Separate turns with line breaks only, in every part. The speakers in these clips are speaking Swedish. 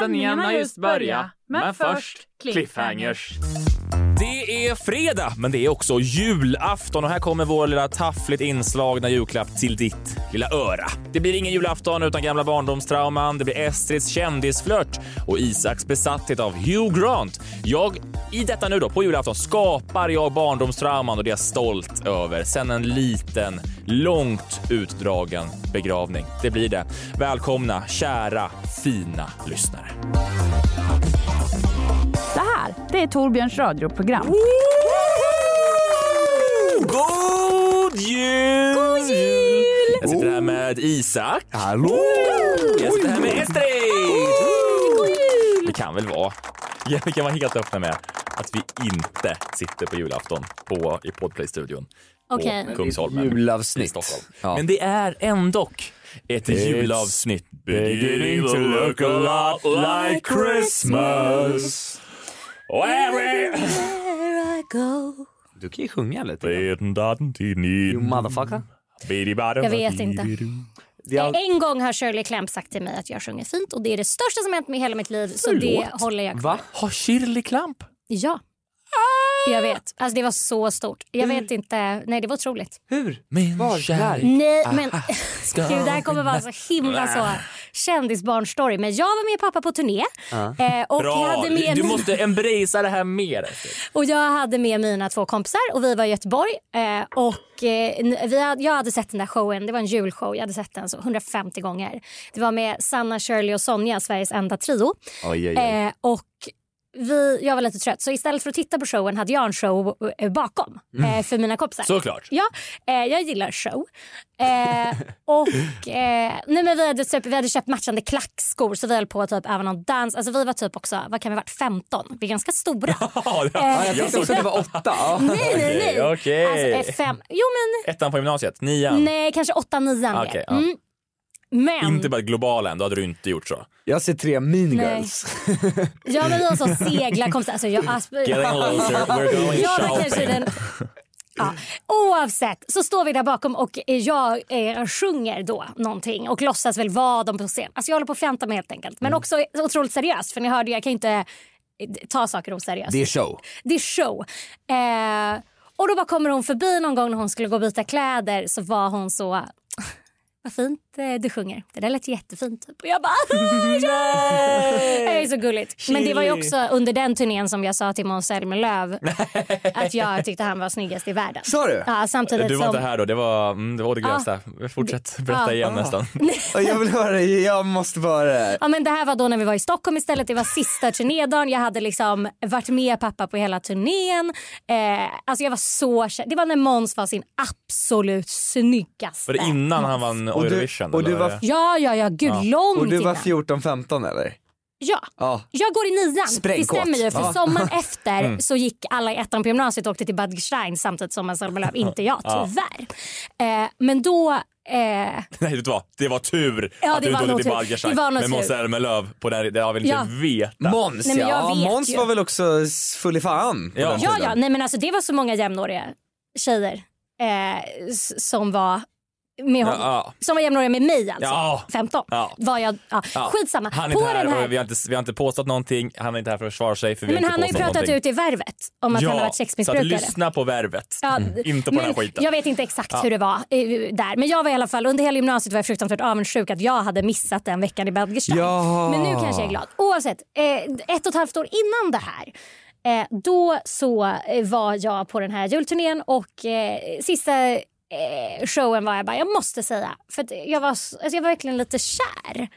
Sändningen har just börjat, men först cliffhangers. Det är fredag, men det är också julafton och här kommer vår lilla taffligt inslagna julklapp till ditt lilla öra. Det blir ingen julafton utan gamla barndomstrauman, det blir Estrids kändisflört och Isaks besatthet av Hugh Grant. Jag, i detta nu då, på julafton, skapar jag barndomstrauman och det är jag stolt över. Sen en liten, långt utdragen begravning. Det blir det. Välkomna, kära, fina lyssnare.
Det här, det är Torbjörns radioprogram.
God jul! God jul! Jag sitter här med Isak. Oh. Hallå! Jag sitter här med Estrid. Vi kan väl vara, ja, vi kan vara helt öppna med att vi inte sitter på julafton på, i Podplay-studion på
Okej. Men det är ett
Kungsholmen
julavsnitt.
i Stockholm.
Ja.
Men det är ändå ett julavsnitt. Beginning to look a lot like Christmas. Och every-
Du kan ju sjunga lite.
Mm.
You motherfucker.
Jag
Jag vet inte. En gång har Shirley Clamp sagt till mig att jag sjunger fint och det är det största som hänt mig i hela mitt liv. Så det
Förlåt?
håller jag
Va?
Har Shirley Clamp? Ah!
Ja. Jag vet. Alltså det var så stort. Jag vet inte. Nej, det var otroligt.
Hur?
Min
Var?
kärlek
Nej, men
Ah, ska Ah.
gud, det här kommer vara så himla så kändisbarnstory. Men jag var med pappa på turné. Eh, och, jag
Bra!
hade med
Du
min-
måste embracea det här mer.
och jag hade med mina två kompisar och vi var i Göteborg. Eh, och eh, n- vi hade, jag hade sett den där showen, det var en julshow, jag hade sett den så 150 gånger. Det var med Sanna, Shirley och Sonja, Sveriges enda trio.
Oj, oj, oj.
Eh, och vi, jag var lite trött, så istället för att titta på showen hade jag en show eh, bakom
Mm.
eh, för mina kompisar.
Såklart.
Ja, eh, jag gillar show. Eh, och, eh, nej men vi, hade typ, vi hade köpt matchande klackskor så vi höll på att typ även någon dans. Alltså vi var typ också, vad kan vi ha varit, 15? Vi är ganska stora.
Ja, det-
Eh,
Ja, jag
jag
tänkte
såg
också att det var åtta. Ja.
nej, nej, nej.
Okej, okej.
Alltså, eh, fem, jo men,
ettan på gymnasiet, nian.
nej kanske åtta, nian. det.
Okej, ja.
mm. Men,
Inte bara global än, då hade du inte gjort så.
Jag ser tre mean
Nej.
girls.
ja men vi har så segla kompisar. Alltså, jag,
Getting loser, we're going
Jag var
shopping.
kanske den... Ja. Oavsett så står vi där bakom och eh, jag eh, sjunger då någonting och låtsas väl vara dem på scen. Alltså jag håller på att fjanta mig helt enkelt.
Mm.
Men också otroligt seriöst för ni hörde jag kan ju inte eh, ta saker oseriöst.
Det är show.
Det är show. Eh, och då bara kommer hon förbi någon gång när hon skulle gå och byta kläder så var hon så... Vad fint eh, du sjunger. Det där lät jättefint. Typ. Och jag bara... Det är så gulligt. Men det var ju också under den turnén som jag sa till Måns Zelmerlöw att jag tyckte han var snyggast i världen.
Sa du?
Ja, samtidigt
Du var
som... Ah.
inte här då, det var, mm, det, var det grövsta. Fortsätt berätta
Ja.
igen nästan.
Och jag vill höra det. Jag måste få höra det.
Ja, men det här var då när vi var i Stockholm istället. Det var sista turnédagen. Jag hade liksom varit med pappa på hela turnén. Eh, alltså jag var så kär. Det var när Måns var sin absolut snyggaste.
Var det innan han vann
Och du-
Eurovision?
och du
eller?
var-
Ja, ja, ja. Gud, långt
Och du var
innan.
14-15 eller?
Ja.
Ja.
Jag går i nian.
Sprängkåt.
Det stämmer ju. För
Ja.
sommaren efter
Mm.
så gick alla i ettan på gymnasiet och åkte till Bad Stein samtidigt som Måns Zelmerlöw. Inte jag, tyvärr. Eh, men då... Eh,
Nej, vet du vad? Det var tur
Ja,
att
det
du
var
inte
nog
åkte till
tur.
Balgarsang
Det var nog
med Måns
tur.
Zelmerlöw på den. Det har vi inte
Ja.
vetat.
Måns
Nej, men jag
ja.
vet
Måns
ju.
var väl också s- full i fan på
Ja.
den
Ja,
tiden.
ja. Nej, men alltså, det var så många jämnåriga tjejer eh, s- som var med honom.
ja.
Som var jämnåriga med mig alltså.
Ja.
15
Ja.
var jag. Ja.
Ja.
Skitsamma.
Han är
På
inte här,
den
och vi, har inte, vi har inte påstått någonting. Han är inte här för att försvara sig. För vi
men
inte
han har ju
påstått
pratat
någonting.
ut i Värvet om att han har varit
Så att
sexmissbrukare.
lyssna på värvet.
Ja,
Mm. Inte på
men
den här skiten.
Jag vet inte exakt hur det var eh, där. Men jag var i alla fall under hela gymnasiet var jag fruktansvärt avundsjuk att jag hade missat den veckan i Badgerstein.
Ja.
Men nu kanske jag är glad. Oavsett, eh, ett och ett halvt år innan det här eh, då så eh, var jag på den här julturnén och eh, sista eh, showen var jag bara, jag måste säga, för att jag var, s- alltså jag var verkligen lite kär.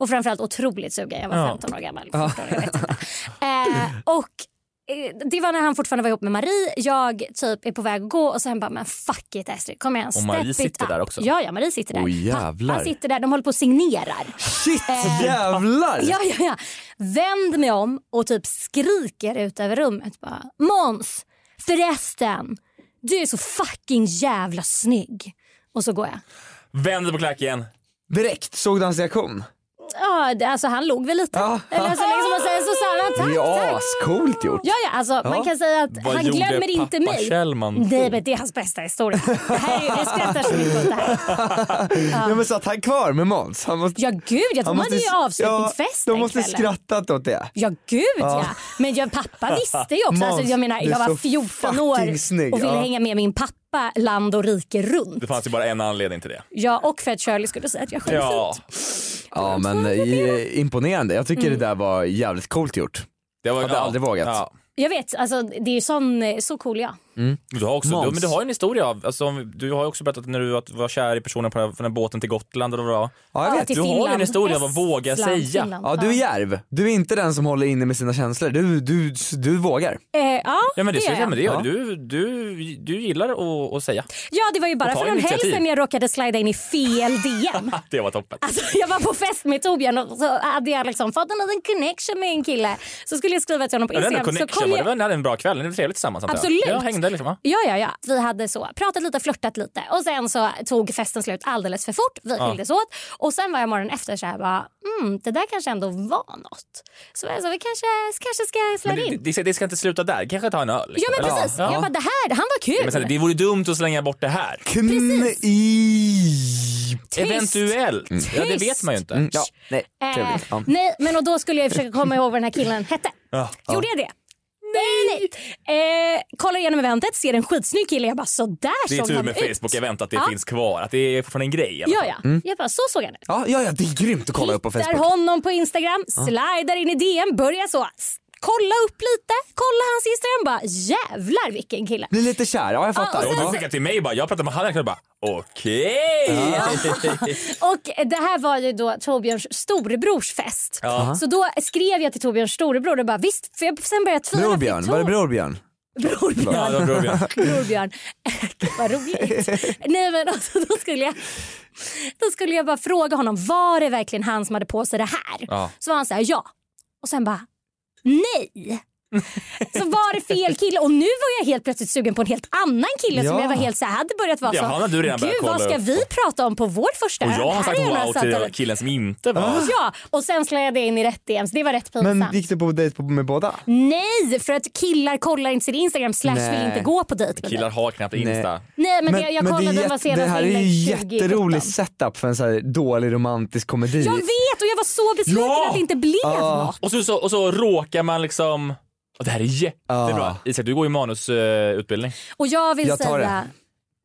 Och framförallt otroligt sugen. Jag var
Ja.
15 år gammal. 14 år, jag vet inte. Eh, och eh, det var när han fortfarande var ihop med Marie. Jag typ är på väg att gå och så han bara, men fuck it Astrid, kom igen,
Och Marie
step it
sitter
up.
där också?
Ja, ja, Marie sitter där.
Oj, jävlar.
Han sitter där, de håller på och signerar.
Shit, jävlar!
Ja, ja, ja. Vänd mig om och typ skriker ut över rummet bara, Måns, förresten, du är så fucking jävla snygg. Och så går jag.
Vänder på klacken.
Direkt såg du hans reaktion?
Ja, det- alltså han log väl lite.
Ja.
Eller alltså, liksom, och sen så sa han tack,
Ja,
tack.
ascoolt gjort.
Ja, ja, alltså, man kan säga att
Vad
han
gjorde
glömmer inte
pappa
mig.
Kjellman?
Nej, men det är hans bästa historia. Det här är, jag skrattar så mycket åt det här.
Ja, men satt han kvar med Måns? Han måste,
Ja, gud, jag tror
han
man hade ju avslutningsfest
ja,
den
De måste
kvällen.
skrattat åt det.
Ja, gud ja. Men jag, pappa visste ju också. Alltså,
Måns,
jag menar,
du är
jag var
så
14 år
fucking snygg,
och ville
ja.
hänga med min pappa land och rike runt.
Det fanns ju bara en anledning till det.
Jag och för att Shirley skulle säga att jag sjöng
Ja,
fint.
Ja men eh, imponerande, jag tycker det där var jävligt coolt gjort.
det var,
Hade aldrig vågat.
Ja.
Jag vet, alltså, det är ju sån, så cool jag.
Du har, också,
Måns.
du, men du har ju en historia. av- Alltså, om- du har ju också berättat när du var- var kär i personen på den här, från den båten till Gotland. Eller vad det var.
Ja, jag
Ja,
vet.
till
Du har ju en
Finland.
historia av att våga
Estland,
säga.
Finland.
Ja, du är
ja.
järv. Du är inte den som håller inne med sina känslor. Du, du, du vågar.
Eh, ja,
Ja, men det,
gör
det,
jag.
men det gör
Ja.
du. Du, du gillar att, att säga.
Ja, det var ju bara
Och ta
för någon helg
initiativ.
sedan jag råkade slida in i fel DM.
Det var toppen.
Alltså, jag var på fest med Torbjörn och så hade jag liksom fått en liten connection med en kille. Så skulle jag skriva till honom på
Ja, den
Instagram.
där
så
connection
kom
var det
jag...
väl ni hade en bra kväll? Ni var trevligt tillsammans antar jag.
Absolut.
Jag hängde liksom. va?
Ja, ja, ja. Vi hade så pratat lite, flörtat lite och sen så tog festen slut alldeles för fort. Vi skildes åt och sen var jag morgonen efter så här bara, mm, det där kanske ändå var något. Så jag sa, vi kanske, kanske ska
Men
slå
det,
in.
det, det ska inte sluta där. Kanske ta en öl.
Ja
Liksom.
men
Eller-
precis,
Ja.
jag bara det här, han var
Men
kul.
sen, det vore dumt att slänga bort det här.
i...
Tyst.
Eventuellt. Ja, det vet man ju inte.
Ja, nej, trevligt.
Eh,
Ja.
Nej, men och då skulle jag försöka komma ihåg vad den här killen hette. Gjorde jag det? Nej! nej. Eh, kollar igenom eventet, ser en skitsnygg kille. Jag bara, så där
Det är
såg
tur
han
med
ut.
Facebook-event att det
Ja.
finns kvar. Att det är fortfarande en grej. i alla
Ja,
fall.
ja. Jag bara, så såg han ut.
Ja, ja, ja, det är grymt att Mm. kolla upp på
Hittar
Facebook.
honom på Instagram, slidar in i DM, börjar så. s- Kolla upp lite, kolla hans Instagram. Bara, jävlar vilken kille.
Blir lite kär, ja jag fattar.
och
Och du
Ja.
skickar till mig bara, jag pratar med Hanna och bara okej.
Och det här var ju då Torbjörns storebrors fest.
Ja.
Så då skrev jag till Torbjörns storebror och bara visst, för jag sen började jag tvivla. för
Brorbjörn,
Tor-
var det Brorbjörn?
Brorbjörn.
Ja, då drog jag.
Brorbjörn. Gud, vad roligt. Nej, men alltså, då, skulle jag, då skulle jag bara fråga honom, var det verkligen han som hade på sig det här?
Ja.
Så var han så här, ja. Och sen bara, nej. Så var det fel kille och nu var jag helt plötsligt sugen på en helt annan kille som
Ja.
jag var helt så här, hade börjat vara
Ja, han hade du redan
så. Gud,
börjat
vad
kolla
ska
upp.
vi prata om på vår första
Och
öl?
jag har
Här
sagt
är den här
wow till Ah. den här
söta-
killen som inte var.
Ja, och sen slängde jag in i rätt DMs. Det var rätt pinsamt.
Men gick du på dejt på- med båda?
Nej, för att killar kollar inte sin Instagram slash vill
Nej.
inte gå på dejt med mig.
Killar har knappt Insta.
Nej men, det, jag
det är
kollade den var
jätte-
senast
Det här är ju
inlägg 2017.
jätterolig setup för en så här dålig romantisk komedi.
Jag vet och jag var så besviken
Ja!
att det inte blev något.
Och så, så, och så råkar man liksom... Och det här är jättebra.
Ja.
Isak, du går ju manusutbildning.
Och jag vill
Jag tar
säga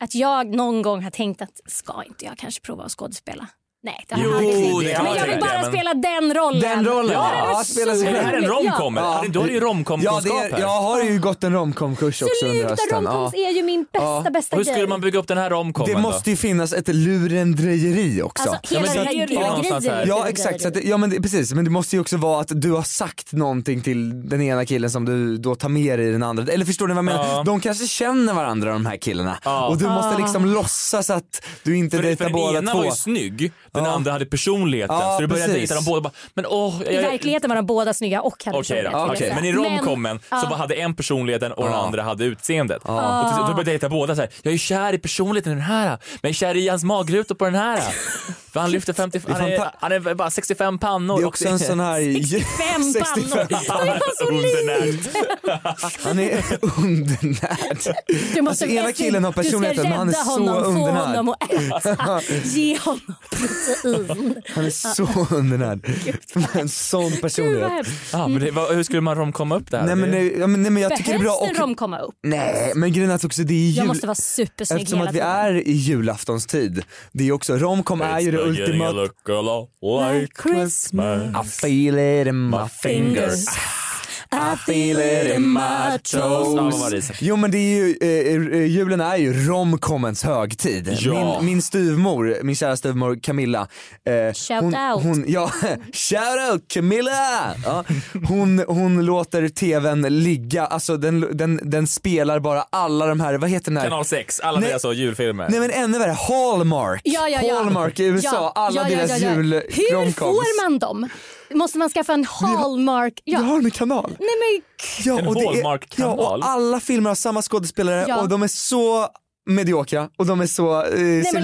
att jag någon gång har tänkt att ska inte jag kanske prova att skådespela? Nej det har
Jo,
jag aldrig tänkt.
det har
Men
jag
jag vill
tänkt,
bara
men-
spela den rollen.
Den rollen,
Ja,
ja,
det
spela
Är
sig
är
det
själv.
här en
Ja.
romcom? eller?
Ja.
Du har ju
Ja, det
romcomkunskap
är,
här.
jag har ju gått en romcomkurs också under
Sluta,
hösten. Ja.
romcoms är ju min bästa
Ja.
bästa
Och Hur skulle
grej.
man bygga upp den här romcomen
Det måste ju finnas ett lurendrejeri också.
Alltså hela
men
den
det
här
är det någonstans här.
grejen.
Ja exakt, så att, det- ja, men det, precis. Men det måste ju också vara att du har sagt någonting till den ena killen som du då tar med dig i den andra. Eller förstår ni vad jag menar?
Ja.
De kanske känner varandra de här killarna. Och du
Ah.
måste liksom låtsas att du inte
För, för
dejtar
den
båda
ena
två.
var ju snygg, den andra hade personligheten.
Ja,
så du började
precis.
dejta dem båda och bara, men åh... jag-
I
jag-
verkligheten var de båda snygga och hade
Okej då.
personlighet,
okej.
skulle jag
Men i
säga.
romcomen så bara hade en personligheten och den andra hade utseendet. Och till slut började dejta båda så här. jag är kär i personligheten i den här, men jag är kär i hans magrutor på den här. För han lyfter 50, han är,
fanta-
han är bara 65 pannor.
Det är också en sån här...
65 pannor. Det var så lite.
Han är undernärd.
Du måste
Alltså, ena killen har personligheten, men han är
Du ska
så
rädda honom, få
undernärd.
honom att äta. Ge honom protein.
Han är så undernärd. En sån
Ah. Gud vad
personlighet.
hemskt.
Ja, men det, vad, hur skulle man romkomma upp det här?
Nej men, nej, ja, men, nej, men jag tycker det är
Behövs
bra.
en
Och,
romkomma upp?
nej men grejen är att också det är jul.
Jag måste vara supersnygg
Eftersom
hela
att vi
tiden.
är i julaftonstid. Det är också, romcom är ju det ultimata.
Like Christmas.
I feel it in my fingers. I feel it in my toes. Jo men det är ju, eh, eh, julen är ju romcomens högtid.
Ja.
Min, min styvmor, min kära styvmor Camilla. eh,
Shout
hon,
out.
Hon, ja, shout out Camilla! Ja, hon, hon låter tvn ligga, alltså den, den, den spelar bara alla de här, vad heter den här?
Kanal 6, alla
Nej.
deras så julfilmer.
Nej men ännu värre, Hallmark!
Ja, ja, ja.
Hallmark i USA,
Ja,
alla
ja, ja,
deras
ja, ja.
jul
Hur
romcoms.
får man dem? Måste man skaffa en hallmark?
Vi
Ja.
har en kanal.
Nej men
Ja,
En
och det är-
Hallmark-kanal.
Ja, och alla filmer har samma skådespelare
Ja.
och de är så mediokra och de är så, eh, ser
men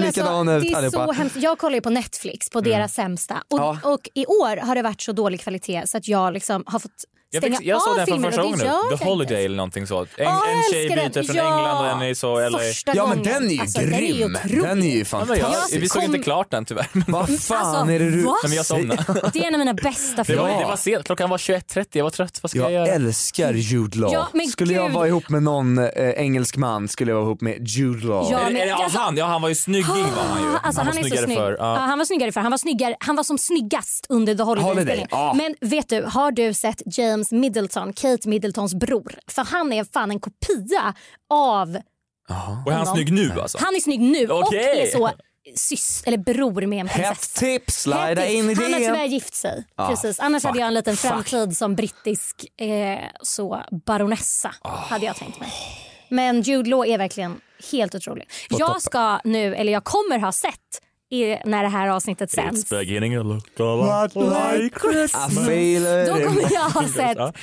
alltså,
likadana ut
det är så
allihopa. Mm.
hemskt. Jag kollar ju på Netflix, på deras sämsta. Och,
Ja.
och i år har det varit så dålig kvalitet så att jag liksom har fått
Jag,
stänga
fick, jag såg
av
den för
filmer
första
och
gången
det gör
nu.
jag
The
inte.
Holiday eller någonting sånt. En,
Åh,
en
jag
tjej
älskar den.
byter från
Ja.
England och en är så LA.
Första
Ja men
gången.
den är ju
Alltså,
grym,
Den är ju
den är ju
Ja, men
fantastisk.
jag,
Jag
vi såg
kom-
inte klart den tyvärr. Men,
Vad fan
Alltså,
är det du
va?
men jag somnade.
det är en av mina bästa
Det var,
filmer.
det var sent, klockan var 21.30, jag var trött. Vad ska jag,
Jag
göra?
älskar Jude Law.
Ja, men
skulle jag
gud.
vara ihop med någon eh, engelsk man skulle jag vara ihop med Jude Law.
Ja,
är det,
men-
är det
alltså-
av han? Ja han var ju snygging var han ju.
Alltså, han,
var
är så
snyggare
snygg.
förr.
Ja,
Ja.
han var snyggare för. Han var, snyggare. han var som snyggast under The Holiday.
Holiday,
Spelning.
Ah.
ja.
Men vet du, har du sett James Middleton, Kate Middletons bror? För han är fan en kopia av...
Och är han snygg nu alltså?
Han är snygg nu och
Okej.
är så sys, eller bror med en
Hett
prinsessa.
tips, slida
Hett tips.
in i
Han har tyvärr
det.
gift sig. Precis. Annars hade jag en liten framtid som brittisk eh, så baronessa. Hade jag tänkt mig. Men Jude Law är verkligen helt otrolig. Jag ska nu, eller jag kommer ha sett i, när det här avsnittet sänds.
It's beginning to look a lot like
I feel it.
Då kommer jag ha sett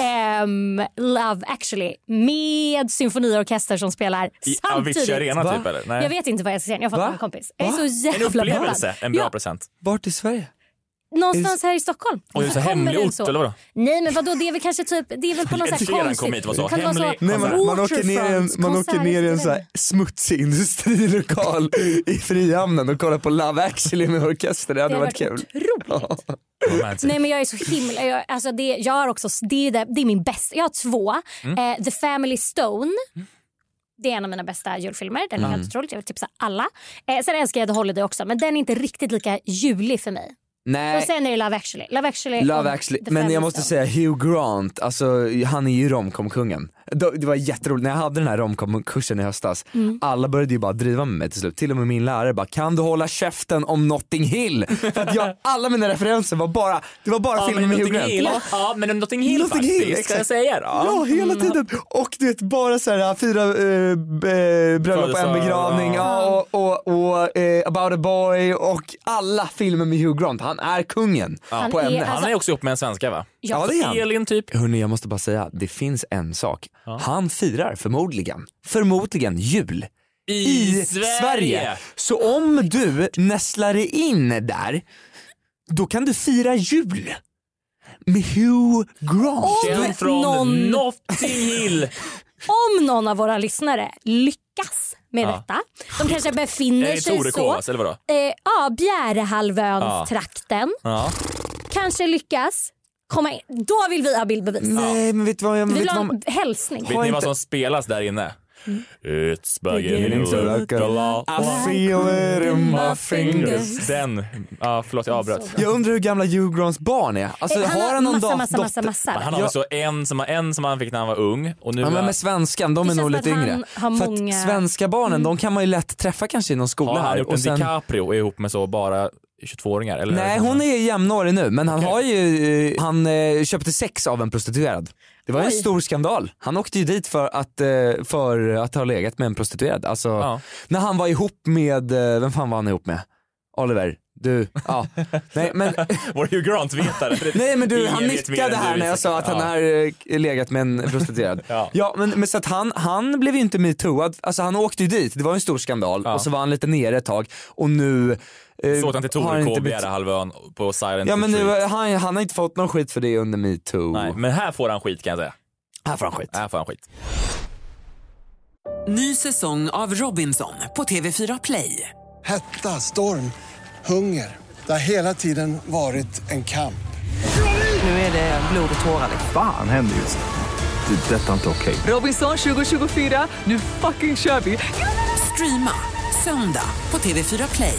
ehm, Love actually med symfoniorkester som spelar
I
samtidigt.
Avicii Arena typ
Va?
eller?
Jag
Nej.
vet inte vad jag ska säga. Jag får
Va?
ta en kompis. Jag är
Va?
så
En
jävla
upplevelse,
peppad.
en bra
Ja,
present.
Vart i Sverige?
Någonstans här i Stockholm.
Och det är så
Kommer
hemlig
den
ort eller vadå?
Nej men vadå det är väl kanske typ, det är väl på någon sån här
Ed Sheeran
konstigt.
kom hit, vad sa
Kan det vara så-
hemlig-
Nej, man, man åker ner i en, man åker ner i en så här smutsig industrilokal i Frihamnen och kollar på Love actually med orkester. Det
Det
hade
har
varit
varit
kul.
otroligt.
Romantic.
Nej men jag är så himla, jag, alltså det, jag har också, det är, det, det är min bästa, jag har två.
Mm.
Eh, The Family Stone. Det är en av mina bästa julfilmer. Den
Mm.
är helt otrolig. Jag vill tipsa alla. Eh, sen älskar jag The Holiday också, men den är inte riktigt lika julig för mig.
Nej.
Och sen är det Love actually. Love actually.
Love
och
actually,
The
men
Family
jag måste
Stone.
säga Hugh Grant, alltså han är ju romcom-kungen. Då- Det var jätteroligt, när jag hade den här romcom-kursen i höstas,
Mm.
alla började ju bara driva med mig till slut. Till och med min lärare bara, kan du hålla käften om Notting Hill? För att jag, alla mina referenser var bara, det var bara
Ja
filmer
men
med Hugh
Notting
Grant.
Hill,
Ja.
ja men Notting Hill
Notting Hill,
faktiskt, ska
exakt.
jag säga då?
Ja,
mm.
hela tiden! Och du vet bara så här, fyra eh, b- eh, bröllop och en
Födelsedag,
begravning
Mm.
ja. och, och, och eh, about a boy och alla filmer med Hugh Grant. Han är kungen
Han
på
är- alltså,
ämnet.
Han är också ihop med en svenska va?
Ja, det är han.
Elin typ.
Hörni, jag måste bara säga, det finns en sak. Han firar förmodligen, förmodligen jul
I,
Så om du nästlar dig in där, då kan du fira jul med Hugh Grant.
Den
Om
från
någon-
Notting Hill.
Om någon av våra lyssnare lyckas med detta, de kanske
Är
befinner
det
sig så.
Torekås Eh, eller vadå?
Eh, ja, Bjärehalvöns
Ja.
trakten.
Ja.
Kanske lyckas komma in. Då vill vi ha bildbevis.
Nej men vet du vad jag...
Vi
Vet
vill
du
ha
vad
en hälsning.
Vet ni vad
inte- Mm.
som spelas där inne? It's beginning to
man-
look a lot
I feel it in my fingers.
like Den, ja förlåt jag avbröt.
Jag undrar hur gamla Hugh Grants barn är. Alltså,
Eh,
har han någon
massa,
dot-
massa, massa,
dotter?
massa.
Men han har väl så en som, en som han fick när han var ung och nu
Ja, men
är-
med svenskan, de
Det
är nog
känns
lite
som att
yngre.
han har
För att
många- Mm.
svenska barnen, de kan man ju lätt träffa kanske i någon skola
har han
här.
gjort en
Och sen...
DiCaprio och är ihop med så bara 22-åringar? Eller?
Nej hon är jämnårig nu men han har ju, eh, han eh, köpte sex av en prostituerad. Det var en stor skandal. Han åkte ju dit för att, eh, för att ha legat med en prostituerad. Alltså,
Ja.
När han var ihop med, eh, vem fan var han ihop med? Oliver, du, ja. Nej men,
Vår Hugh Grant-vetare.
nej, men du, han
Ingen vet mer
nickade
än
här
du,
när jag
Isak.
sa att han
Ja.
har eh, legat med en prostituerad.
Ja.
men, men så att han, han blev ju inte metooad, alltså han åkte ju dit, det var ju en stor skandal
Ja.
och så var han lite nere ett tag och nu eh,
Så åkte han till
har
Torekov,
inte blivit-
Bjärehalvön på Silent
Ja men nu, eh,
Retreat.
han, han har inte fått någon skit för det under metoo.
Nej, men här får han skit kan jag säga.
Här får han skit.
Här får han skit.
Ny säsong av Robinson på TV4 Play.
Hetta, storm, hunger. Det har hela tiden varit en kamp.
Nu är det blod och tårar.
Fan händer just nu. Det. är Detta är inte okej.
Robinson 2024, nu fucking kör vi! Streama söndag på TV4 Play.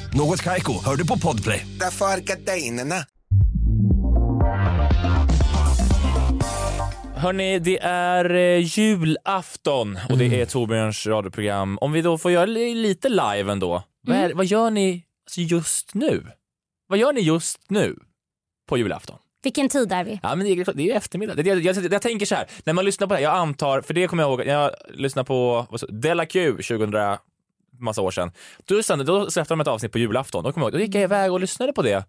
Något Kaiko, hör du på podplay.
Därför är gardinerna.
Hörni, det är eh, julafton och det är Torbjörns radioprogram. Om vi då får göra li- lite live ändå. Vad, är, vad gör ni alltså, just nu? Vad gör ni just nu på julafton?
Vilken tid är vi?
Ja, men det är, det är ju eftermiddag. Det, jag, jag, jag tänker så här, när man lyssnar på det här, jag antar, för det kommer jag ihåg, när jag lyssnade på vad så- Della Q 2000 massa år sedan, då, sände- då släppte de ett avsnitt på julafton. Då, kommer jag ihåg, då gick jag iväg och lyssnade på det.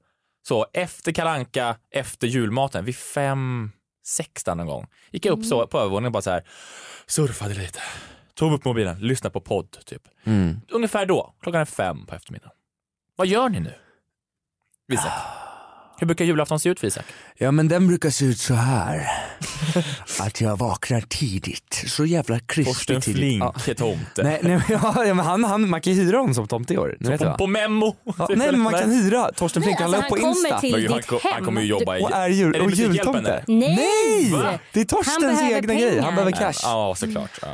Så efter kalanka, efter julmaten, vid fem, sex där någon gång. Gick jag upp så på övervåningen och bara så här, surfade lite, tog upp mobilen, lyssnade på podd typ.
Mm.
Ungefär då, klockan är fem på eftermiddagen. Vad gör ni nu? Isak. Hur brukar julafton se ut för Isak?
Ja men den brukar se ut så här. Att jag vaknar tidigt. Så jävla krispigt
Torsten
tidigt.
Flink
Ja.
är tomte.
Nej, nej, men, ja, ja, men han, han, man kan ju hyra honom som tomte i år. Nu
Så
vet
på-
jag.
på Memmo.
Ja, nej men man kan hyra Torsten Flink,
Nej,
han
alltså,
la upp på
han kommer
Insta.
till Men han ditt ko- hem.
han kommer Äh, ju jobba i-
Och är
Är
djur,
det
och
Musikhjälpen,
jultomte.
eller?
Nej!
Va?
Det är
Han
Torstens
behöver
egna grej, han
pengar.
behöver cash. Mm.
Ja, såklart. Ja.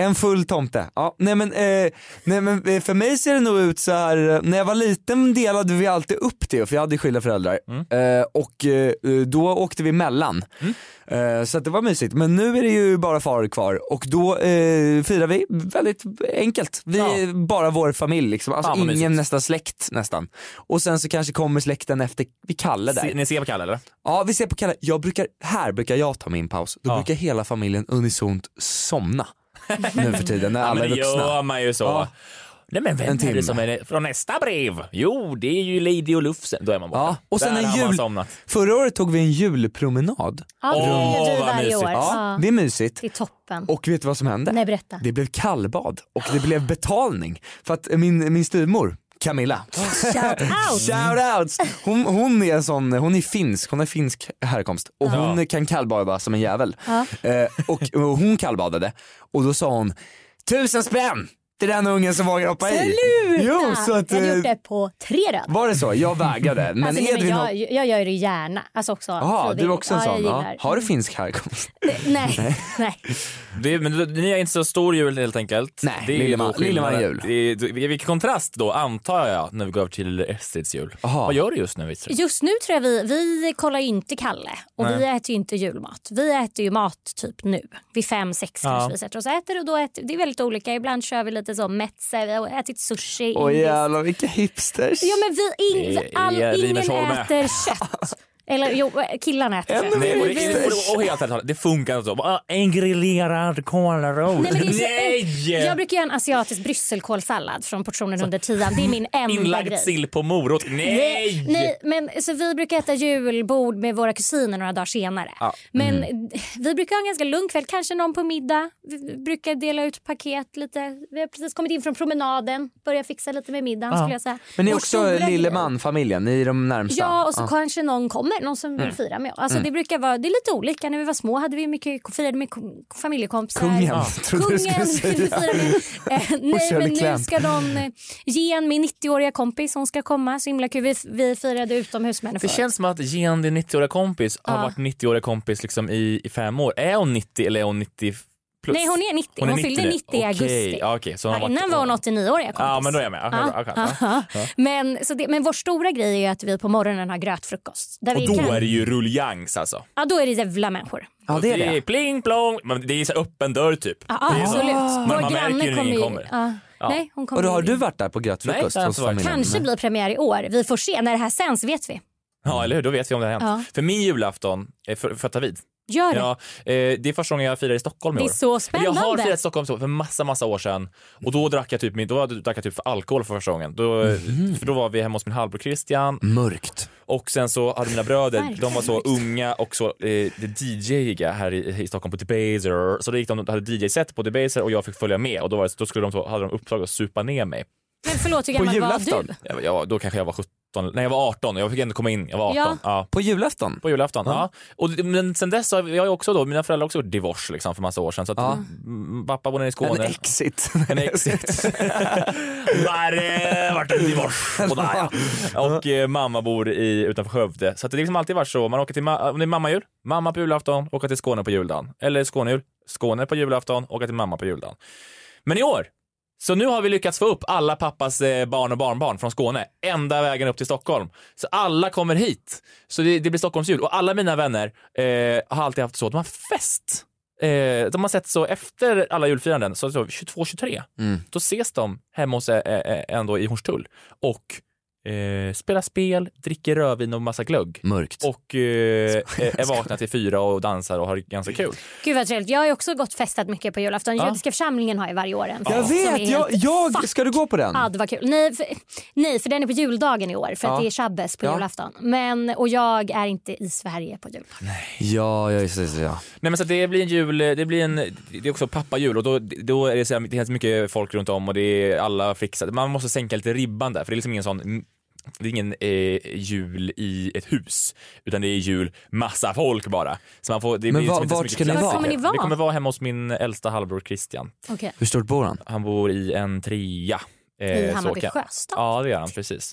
En full tomte. Ja, nej, men, eh, nej men eh, för mig ser det nog ut så här. eh, när jag var liten delade vi alltid upp det för jag hade skilda föräldrar.
Mm.
Eh, och eh, då åkte vi mellan. Eh, så att det var mysigt. Men nu är det ju bara far kvar och då eh, firar vi väldigt enkelt. Vi är bara vår familj liksom. Alltså
Fan, vad
ingen
mysigt.
nästan släkt nästan. Och sen så kanske kommer släkten efter, vi kallar där.
Se, ni ser på Kalle eller?
Ja vi ser på Kalle, jag brukar, här brukar jag ta min paus, då brukar hela familjen unisont somna nu för tiden när
Ja,
alla
men
är
det gör
vuxna.
man ju så. Nej men vem
En
är det
timme.
som är från nästa brev? Jo, det är ju Lady och Lufsen. Då är man borta.
Ja, och sen
Där
en
har man
jul...
somnat.
Förra året tog vi en julpromenad.
Ja, det gör ju
Åh,
du
vad
varje
mysigt.
år.
Ja,
Ja.
det är mysigt.
Det är toppen.
Och vet du vad som hände?
Nej, berätta.
Det blev kallbad och det blev betalning för att min, min styvmor Camilla.
out.
Shoutouts! Hon, hon är en sån, hon är finsk, hon har finsk härkomst och hon kan kallbada som en jävel. Eh, och, och hon kallbadade och då sa hon tusen spänn till den ungen som vågar hoppa i.
Sluta!
Jo, så att,
jag
eh,
hade gjort det på tre röd.
var det så? Jag vägrade. Men
alltså, nej,
Edvin
men
har...
jag, jag gör det gärna. Alltså också
Jaha, du är också en
ja,
sån.
jag
Ja.
gillar.
Har du finsk härkomst?
Nej, nej.
Det, men du- ni är inte så stor jul helt enkelt.
Nej,
det är ju
Lilleman-
då skillnaden.
Lilleman jul.
Det är- det- Vilken kontrast då, antar jag, när vi går över till Estrids jul.
Aha.
Vad gör du just nu, Estrid?
Just nu tror jag vi, vi kollar ju inte Kalle och vi
Nej.
äter ju inte julmat. Vi äter ju mat typ nu. Vid fem, sex
Ja.
kanske vi sätter oss och äter. Och då äter det är väldigt olika. Ibland kör vi lite så metze. Vi har ätit sushi.
Åh
indiskt.
jävlar vilka hipsters.
Ja, men vi, in,
Det är
all, ingen
Rimersholme.
äter kött. Eller jo, killarna äter kött.
Nej, och, det, och, och helt ärligt talat, det funkar inte så. Bara, "Ah, En grillerad kålrot.
Nej, men det är så,
Nej!
Jag brukar göra en asiatisk brysselkålsallad från portionen under tian. Det är min enda
Inlagd
grej.
sill på morot. Nej!
Nej, men så vi brukar äta julbord med våra kusiner några dagar senare. Men
Mm.
vi brukar ha en ganska lugn kväll, kanske någon på middag. Vi brukar dela ut paket lite. Vi har precis kommit in från promenaden, börjar fixa lite med middagen skulle jag säga.
Men ni är
Vår stora
också
grej-
Lilleman-familjen, ni är de närmsta.
Ja, och så kanske någon kommer, någon som
Mm.
vill fira med oss. Alltså, det, brukar vara, det är lite olika. När vi var små hade vi mycket, firade med kom- familjekompisar.
Kungen,
Ja.
trodde du skulle
Kungen
säga.
ville vi fira med. Eh, nej,
Shirley
men nu
Clamp.
ska de eh, ge en min 90-åriga kompis. Hon ska komma. Så himla kul. Vi, vi firade utomhus med henne
Det
förut.
känns som att Jean, din 90-åriga kompis, har
Ja.
varit 90-åriga kompis liksom i, i fem år. Är hon 90 eller är hon 90 plus?
Nej, hon är 90. Hon, fyllde
nu.
90 i augusti.
Okej, ja, okej. Så hon har
Ja,
varit-
innan var hon 89-åriga kompis.
Ja, men då är jag med. Okej,
Ja,
okej, okej.
aha. Men, så det, men vår stora grej är ju att vi på morgonen har grötfrukost. Där vi
Och då
kan,
är det ju ruljangs alltså.
ja, då är det jävla människor.
Ja, det är det.
Pling plong. Men det är så öppen dörr typ.
Ja,
Det är så.
absolut.
Men man märker ju när ingen kommer.
Ja.
Ja.
Nej, hon kommer
Och då har
ju
du
in.
varit där på grötfrukost
Nej, det har jag
hos
inte varit.
familjen?
Kanske blir premiär i år. Vi får se. När det här sänds vet vi.
Ja, eller hur? Då vet vi om det har hänt. För min julafton, eh, för, för att ta vid,
Gör det.
Ja, eh, det är första gången jag firar i Stockholm i
Det
år.
är så spännande.
Jag har firat i Stockholm för massa, massa år sedan och då drack jag typ, min- då drack jag typ för alkohol för första gången. Då,
Mhm.
för då var vi hemma hos min halvbror Christian
Mörkt.
och sen så hade mina bröder,
Verkligen.
de var så unga och så eh, DJ-iga här i, i Stockholm på Debaser. Så då gick de, de hade DJ-set på Debaser och jag fick följa med och då, var det, då skulle de, så- hade de uppdrag att supa ner mig.
Men förlåt, hur
På
gammal var du?
julafton?
Jag, var- jag, var- då kanske jag var 17 nej jag var 18, jag fick ändå komma in. Jag var 18.
Ja.
Ja.
På julafton?
På julafton, ja. Och, det- men sen dess har jag ju också då, mina föräldrar har också gjort divorce liksom för massa år sedan. Så att, m- pappa bor nere i Skåne.
En exit.
En exit. där eh, vart det divorce. Och, där, ja. och eh, mamma bor i, utanför Skövde. Så att det har liksom alltid varit så. Man åker till ma- om det är mammajul, mamma på julafton, åka till Skåne på juldagen. Eller Skånejul, Skåne på julafton, åka till mamma på juldagen. Men i år, så nu har vi lyckats få upp alla pappas eh, barn och barnbarn från Skåne, enda vägen upp till Stockholm. Så alla kommer hit. Så det, det blir Stockholms jul. Och alla mina vänner eh, har alltid haft så, de har fest. Eh, de har sett så efter alla julfiranden, så, så 22-23, då ses de hemma hos eh, eh, en då i Hornstull och eh, spelar spel, dricker rödvin och massa glögg.
Mörkt.
Och eh, är vakna till fyra och dansar och har ganska kul.
Gud vad trevligt. Jag har ju också gått festat mycket på julafton.
Ja.
Judiska församlingen har ju varje år en fest
Jag
som är
vet,
helt
jag, jag, ska du gå på den?
Ja, det var kul. Nej för, nej, för den är på juldagen i år för
Ja.
att det är shabbes på
Ja.
julafton. Men, och jag är inte i Sverige på jul.
Mm.
Ja, ja, just det, just det, ja.
Nej men så att det blir en jul, det blir en, det är också pappajul och då, då är det så här, det är så mycket folk runt om och det är alla fixade. Man måste sänka lite ribban där för det är liksom ingen sån det är ingen eh, jul i ett hus, utan det är jul massa folk bara. Så man får, det
Men
blir
va-
liksom inte så
vart
mycket
ska ni
plats.
vara? Var kommer ni vara?
Vi kommer vara hemma hos min äldsta halvbror Christian.
Okej.
Hur stort bor han?
Han bor i en trea. Eh,
I Hammarby
kan-
sjöstad.
Ja, det gör han. Precis.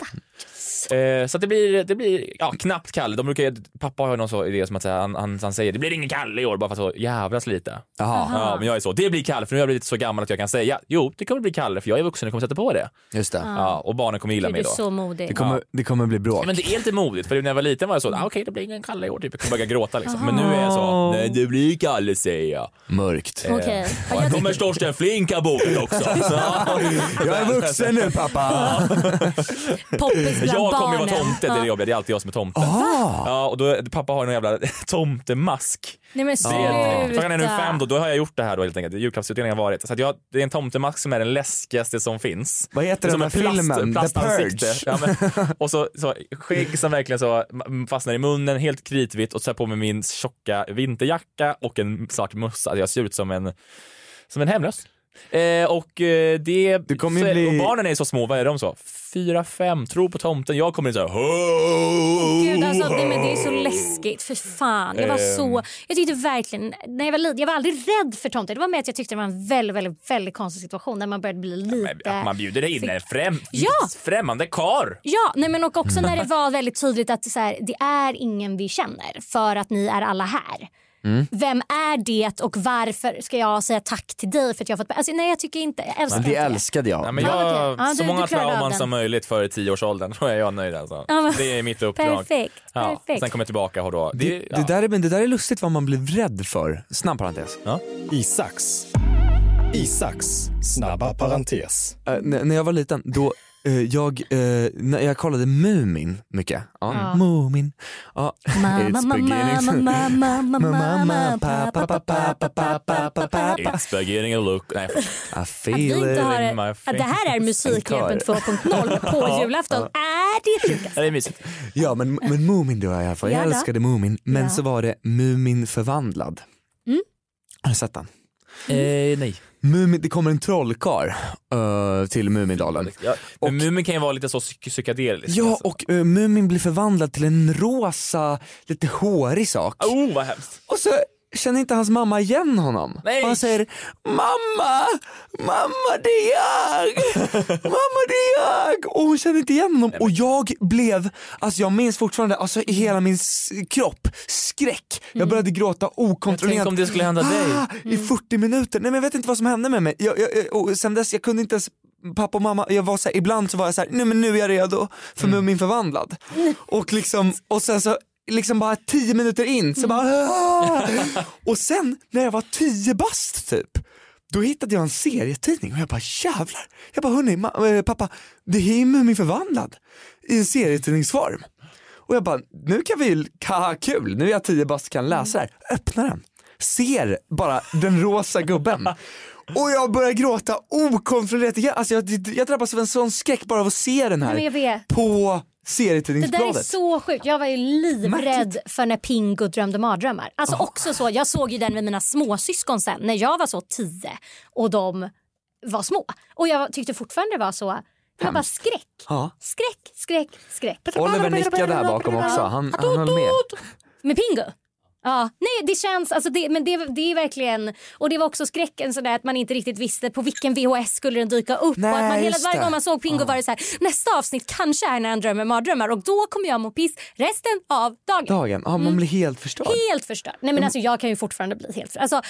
Eh, så att det blir, det blir ja, knappt Kalle. De brukar, ju- pappa har ju någon så idé som att så här, han, han, han säger det blir ingen Kalle i år bara för att så jävlas lite.
Aha.
Ja, men jag är så, det blir Kalle för nu har jag blivit så gammal att jag kan säga jo, det kommer bli Kalle för jag är vuxen och kommer sätta på det.
Just det.
Ja, och barnen kommer gilla
Gud,
mig
du
då.
är så modig.
Det kommer, det kommer bli bråk.
Men det är lite modigt, för när jag var liten var jag så, ah, okej det blir ingen Kalle i år, typ. jag kommer börja gråta liksom. Men nu är jag så, nej det blir Kalle säger jag.
Mörkt.
Eh,
Okej.
och här kommer Torsten Flink ha bokat också. Så.
Jag är vuxen nu pappa.
Poppis bland
jag kommer ju
barnen.
vara tomte, det är det jobbiga, det är alltid jag som är tomte.
Ah.
Ja, och då, pappa har ju någon jävla tomtemask.
Nej men
Det är- Klockan är nu
sluta.
fem då, då har jag gjort det här då helt enkelt. Julklappsutdelningen har varit. Så att jag, det är en tomtemask som är den läskigaste som finns.
Vad heter
Det är som
den där
en plast-
filmen? The
plastansikte.
Purge.
Ja, men, och så, så skägg som verkligen så m- fastnar i munnen, helt kritvitt och så har jag på mig min tjocka vinterjacka och en svart mössa. Jag ser ut som en, som en hemlös. Eh, och, eh, det,
kommer ju
så,
bli-
och barnen är så små, vad är de så? Fyra, fem, tro på tomten. Jag kommer in såhär, ho,
Gud, alltså, nej, men det är så läskigt. För fan. Jag var
Oh. Ehm.
så... Jag tyckte verkligen... När jag var liten, jag var aldrig rädd för tomten. Det var mer att jag tyckte det var en väldigt, väldigt, väldigt konstig situation när man började bli lite...
Att man bjuder in en främ,
Ja.
främmande kar.
Ja, nej men och också när det var väldigt tydligt att så här, det är ingen vi känner för att ni är alla här.
Mm.
Vem är det och varför ska jag säga tack till dig för att jag har fått... Alltså, nej, jag tycker inte... Jag älskar
Men det
inte det.
älskade jag.
Ja, men
Ja,
jag,
okej. Ja,
så
du-
många
du klarade av
trauman
den.
som möjligt före tioårsåldern, då är jag nöjd alltså.
Ja, men-
Det är mitt uppdrag.
Perfekt,
Ja.
perfekt.
Sen kommer jag tillbaka och då... Det,
Det, det, där är, men det där är lustigt vad man blir rädd för. Snabb parentes.
Isaks. Isaks snabba parentes.
Eh, n- när jag var liten, då eh, jag, eh, när jag kollade Mumin mycket. Ja.
Ja.
Mumin. Ja. It's beginning.
mamma,
pappa, pappa, pappa, pappa.
It's beginning a look... Nej,
I
Att vi
feel
inte har
it in my
att det här är musikhjälpen
Kör.
2.0 på
Ja.
julafton. Är det sjukaste?
Det är mysigt.
Ja men, men Mumin det var jag i alla fall. Jag
Ja då.
älskade Mumin. Men
Ja.
så var det Mumin förvandlad.
Mm.
Har du sett den?
Eh, nej.
Mumin, det kommer en trollkarl eh, till Mumindalen.
Ja, men Mumin kan ju vara lite så psyk- psykedelisk. alltså.
Ja och eh, Mumin blir förvandlad till en rosa, lite hårig sak.
Oh vad hemskt.
Och så känner inte hans mamma igen honom.
Nej.
Och han säger mamma, mamma det är jag, mamma det är jag. Och hon känner inte igen honom. Och jag blev, alltså jag minns fortfarande, alltså i hela min s- kropp, skräck. Jag började gråta okontrollerat.
Tänk om det skulle hända dig.
Ah,
Mm.
I 40 minuter, nej men jag vet inte vad som hände med mig. Jag, jag, jag- och sen dess, jag kunde inte ens Pappa och mamma, jag var så här, ibland så var jag så här, nej men nu är jag redo för
Mm.
Mumin förvandlad. Och, liksom, och sen så, liksom bara tio minuter in så bara,
Mm.
"Ah!" och sen när jag var tio bast typ, då hittade jag en serietidning och jag bara jävlar, jag bara hörni ma- eh, pappa, det här är Mumin förvandlad i en serietidningsform. Och jag bara, nu kan vi ju, ha kul, nu är jag tio bast kan läsa det här. Öppnar den, ser bara den rosa gubben. Och jag börjar gråta okontrollerat igen. Alltså jag, jag drabbas av en sån skräck bara av att se den
Nej, men jag
här
vet.
på
Det där är
serietidningsbladet.
så sjukt. Jag var ju livrädd för när Pingo drömde mardrömmar. Alltså också så, jag såg ju den med mina småsyskon sen när jag var så tio och de var små. Och jag tyckte fortfarande det var så Det var bara skräck.
Ja.
Skräck, skräck, skräck.
Oliver nickade här bakom också. Han, han höll med.
Med Pingo? Ja, nej det känns, alltså det, men det, det är verkligen, och det var också skräcken sådär att man inte riktigt visste på vilken VHS skulle den dyka upp och att man hela,
just
varje
det.
gång man såg Pingo var det så här, nästa avsnitt kanske är när han drömmer mardrömmar och då kommer jag må piss resten av dagen.
Dagen, ja, man
Mm.
blir helt förstörd.
Helt förstörd. Nej men alltså jag kan ju fortfarande bli helt förstörd. Alltså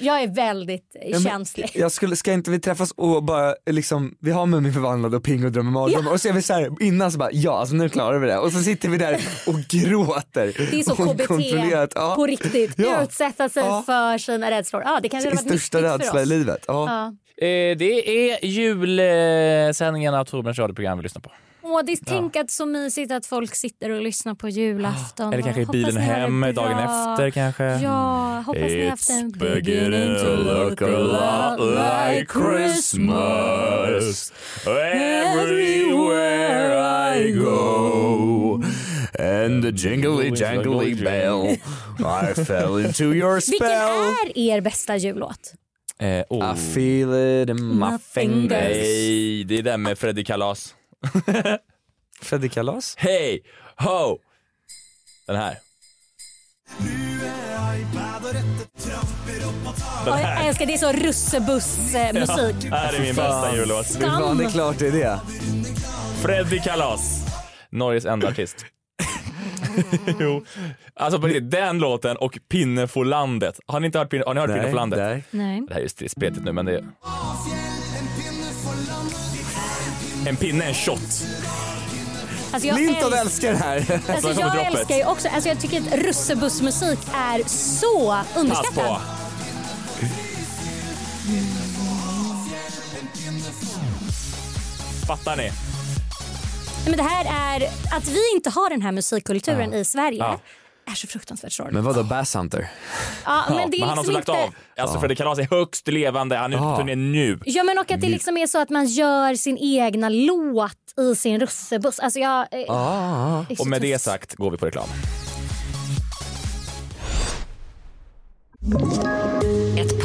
jag är väldigt eh,
Ja, men
känslig.
Jag skulle, ska inte vi träffas och bara liksom, vi har Muminförvandlade och Pingo drömmer mardrömmar och så är vi så här, innan så bara ja alltså nu klarar vi det och så sitter vi där och gråter.
Det är så
Okontrollerat,
KBT
ja.
på riktigt.
Ja.
Utsätta sig för sina rädslor. Ja, det kanske hade
Sin
varit
största
nyttigt för
rädsla i
oss.
livet. Ja.
Ja.
Eh, det är julsändningen av Torbjörns radioprogram vi lyssnar på.
Åh, det är
Ja.
tänk att så mysigt att folk sitter och lyssnar på julafton.
Eller kanske i
Hoppas
bilen
ni har det
hem,
bra.
dagen efter kanske.
Ja, hoppas ni har haft en
beginning to look a lot like Christmas everywhere I go.
And the jingly jangly bell I fell into your
Vilken
spell
är er bästa jullåt?
Eh, oh.
I feel it in my fingers
Nej, det är den med Freddy Kalas.
Freddy Kalas?
Hej, ho! Den här. Den
Ja, jag
här.
älskar, det är så russebuss-musik.
Ja, det här är alltså, min bästa jullåt.
Skam. Fy fan, det är
klart det är det.
Freddy Kalas. Norges enda artist. jo. Alltså på riktigt, den låten och Pinne for landet. Har ni inte hört Pinne, har ni hört
Nej,
pinne for landet? Nej.
Nej.
Det här är ju st- spretigt nu men det är... En pinne är en shot.
Alltså, jag
Linton
älsk-
älskar det här.
Alltså, jag älskar ju också, alltså, jag tycker att russebussmusik är så
Pass på.
underskattad.
Fattar ni?
Nej, Men det här är, att vi inte har den här musikkulturen i Sverige
Ja.
är så fruktansvärt sorgligt.
Men vadå Bass Hunter?
Ja, men det är
han har
liksom
också lagt
inte-
av. Alltså
Ja.
Freddy Kalas är högst levande. Han är ute på turné nu.
Ja men och att det liksom är så att man gör sin egna låt i sin russebuss. Alltså jag... eh, det är så
Ah. Och med det
trist.
sagt går vi på reklam.
Ett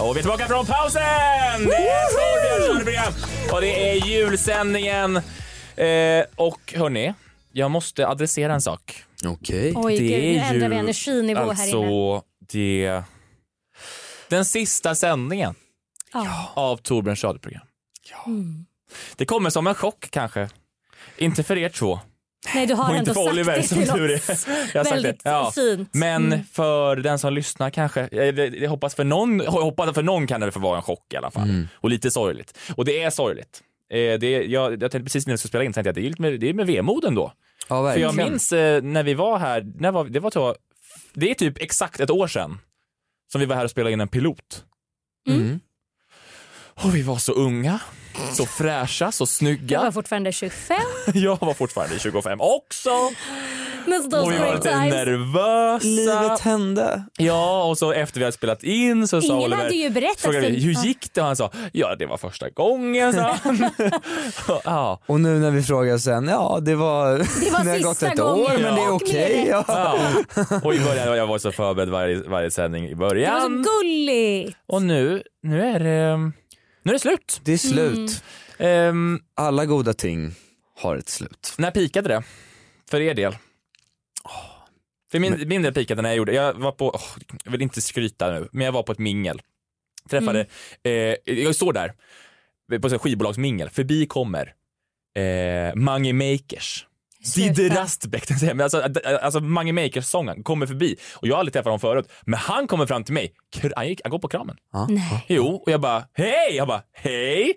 Och vi är tillbaka från pausen! Det är Torbjörns radioprogram. Och det är julsändningen. Eh, och hörni, jag måste adressera en sak.
Okej.
Oj, gud, nu ändrar vi energinivå här
alltså,
inne.
det... Den sista sändningen
Ja.
av Torbjörns radioprogram.
Mm.
Det kommer som en chock kanske. Inte för er två.
Nej du har
och
ändå
inte för
sagt
Oliver
det
som
till
tur är.
oss.
Jag har sagt
Väldigt
det. Ja.
fint.
Men
Mm.
för den som lyssnar kanske, jag, jag hoppas för någon, jag hoppas för någon kan det få vara en chock i alla fall. Och lite sorgligt. Och det är sorgligt. Eh, det, jag, jag tänkte precis när jag skulle spela in tänkte jag att det är, lite med, det är med vemod ändå.
Ja,
för jag
verkligen.
minns eh, när vi var här, när var, det var tror jag- det är typ exakt ett år sedan som vi var här och spelade in en pilot.
Mm.
Och vi var så unga, så fräscha, så
Jag var
snygga.
fortfarande 25.
Jag var fortfarande 25 också.
Men
Och vi var lite nervösa.
Livet hände.
Ja, och så efter vi hade spelat in så sa
Ingen
Oliver,
hade ju berättat
frågade vi,
för-
hur
Ja.
gick det? Och han sa, ja det var första gången, sa han. ja.
Och nu när vi frågar sen, ja det var,
Det var
det har
sista
gått ett
gången.
år men det är
Och med
okej.
det.
ja.
Och i början var jag var så förberedd varje, varje sändning i
Det var
början.
så gulligt.
Och nu, nu är det, nu är det slut.
Det är
Mm.
slut.
Ehm,
Alla goda ting har ett slut.
när pikade det? För er del? För min, min del pikade när jag gjorde, jag var på, åh, jag vill inte skryta nu, men jag var på ett mingel. Träffade,
Mm.
eh, jag står där, på ett skivbolagsmingel, förbi kommer eh, Mange Makers.
Sluta.
Didde Rastbäck, tänkte jag säga, men alltså, d- alltså Mange Makers-sångaren kommer förbi och jag har aldrig träffat honom förut, men han kommer fram till mig, Kr- han, gick, han går på kramen.
Ja.
Nej.
Jo, och jag bara hej, jag bara hej. Eh,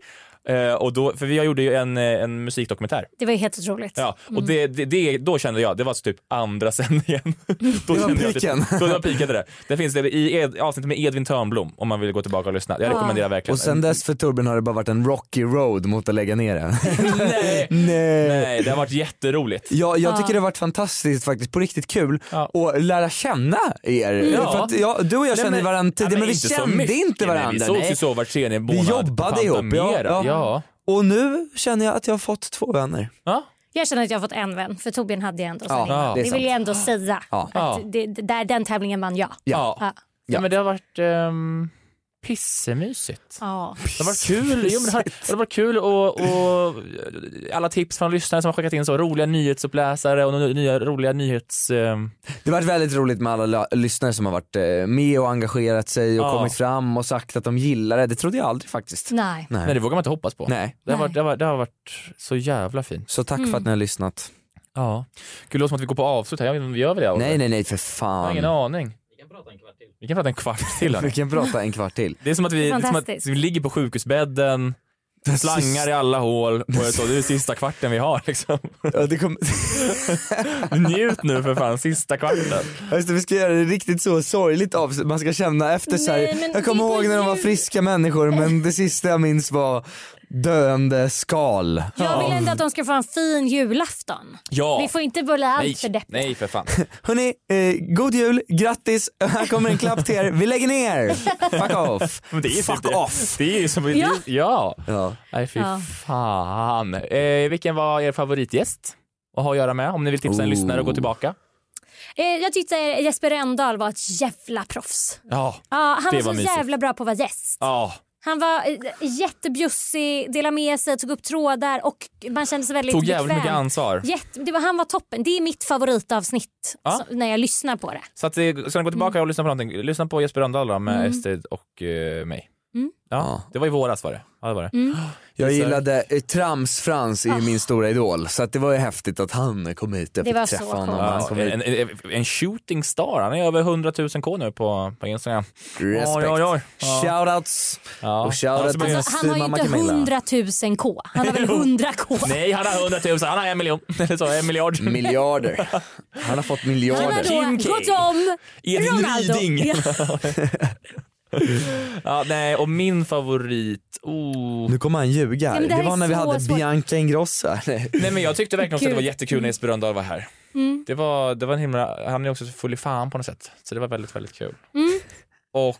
Eh, och då, för jag gjorde ju en, eh, en musikdokumentär.
Det var ju helt otroligt.
Ja, och
Mm.
det, det, det, då kände jag, det var typ andra sändningen. då
Det var
kände jag
piken.
Typ, då det var pikade det. Det finns det i ed, avsnittet med Edvin Törnblom om man vill gå tillbaka och lyssna. Jag rekommenderar verkligen.
Och sen dess för Torbjörn har det bara varit en rocky road mot att lägga ner det.
Nej.
Nej.
Nej, det har varit jätteroligt.
Ja, jag tycker
Ja.
det har varit fantastiskt faktiskt, på riktigt kul och lära känna er.
Ja.
För att jag, du och jag
Mm. Nej,
känner
men-
varandra tidigare
nej,
men vi
inte så
kände
mycket.
inte varandra.
Nej, vi sågs ju så var tredje månad.
Vi jobbade ihop. Ja,
Pandemera.
ja.
Ja.
Och nu känner jag att jag har fått två vänner.
Jag känner att jag har fått en vän, för Torbjörn hade jag ändå.
Ja,
sen innan.
ja, det är
det, vill
sant.
jag ändå säga.
Ja.
Att
Ja.
det, det, där, den tävlingen vann jag.
Ja.
Ja.
Ja, men det har varit um, pissemysigt.
Ja.
Det var kul. Jo, men det, har, det var kul och, och alla tips från lyssnare som har skickat in så roliga nyhetsuppläsare och ny- nya roliga nyhets... ehm,
Det har varit väldigt roligt med alla la- lyssnare som har varit eh, med och engagerat sig och
Ja.
kommit fram och sagt att de gillar det. Det trodde jag aldrig faktiskt.
Nej.
Nej.
Nej, det vågar man inte hoppas på.
Nej.
Det, har varit, det, har, varit- det har varit så jävla fint.
Så tack för att ni har lyssnat.
Ja. Gud, det låter som att vi går på avslut här. Jag vet inte om vi gör väl det? Oliver?
Nej, nej, nej för
Jag har
fan.
ingen aning. Vi kan prata en kvart till. hörni.
Vi kan prata en kvart till.
Det är som att vi, det är som att
Fantastiskt.
vi ligger på sjukhusbädden, slangar i alla hål och jag sa, det är sista kvarten vi har. Liksom.
Ja, det kom...
Njut nu för fan, sista kvarten.
Ja, Just det, vi ska göra det riktigt så sorgligt av Man ska känna efter så
Nej, men
här. Jag kommer
det var
ihåg när de var
ju-
friska människor men det sista jag minns var döende skal.
Jag vill ändå att de ska få en fin julafton.
Ja.
Vi får inte bli allt för deppiga.
Nej för fan.
Hörni, eh, god jul, grattis, här kommer en klapp till er. Vi lägger ner! Fuck off!
Men det är ju
Fuck
typ det.
off!
Det är ju som...
Ja.
Ja! ja. Nej fy
Ja.
fan. Eh, vilken var er favoritgäst att ha att göra med? Om ni vill tipsa en
Oh.
lyssnare och gå tillbaka.
Eh, Jag tyckte Jesper Rönndahl var ett jävla proffs.
Ja,
Ja, han
det
var så
mysigt.
jävla bra på att vara gäst.
Ja.
Han var eh, jättebjussig, delade med sig, tog upp trådar och man kände sig väldigt
Tog jävligt
bekväm.
mycket ansvar.
Jätte, det var, han var toppen. Det är mitt favoritavsnitt
Ja.
så, när jag lyssnar på det.
Så att, eh, ska ni gå tillbaka och lyssna på någonting, lyssna på Jesper Rönndahl då, med
Mm.
Estrid och eh, mig.
Mm.
Ja, det var i våras var det. Ja, det, var det.
Jag
Så-
gillade eh, Trams-Frans är ju min stora idol så att det var ju häftigt att han kom hit. Jag
Ah. Det
fick
var
träffa
så
honom.
coolt.
Han
Ja,
kom hit.
en, en, en shooting star. Han är över 100 000 k nu på, på Instagram.
Respekt.
Oj, oj, oj. Ja.
Shoutouts
Ja.
och shoutout
Alltså,
till
han
Han har ju
mamma
inte
Camilla.
100 000 K. Han har väl 100 K.
Nej, han har 100 000. Han har en miljon. Eller så, en miljard.
Miljarder. Han har fått
Han
miljarder.
har då gått om
Edvin
Ronaldo.
Ryding.
Ja.
ja, nej, och min favorit... Oh.
Nu kommer han ljuga.
Ja, men
det,
det här
var
är
när vi
så
hade
svårt.
Bianca Ingrosso här.
Nej, men jag tyckte verkligen också att det var
Gud.
jättekul när Jesper Rönndahl var här.
Mm.
Det var, det var en himla, han är också full i fan på något sätt. Så det var väldigt, väldigt kul.
Mm.
Och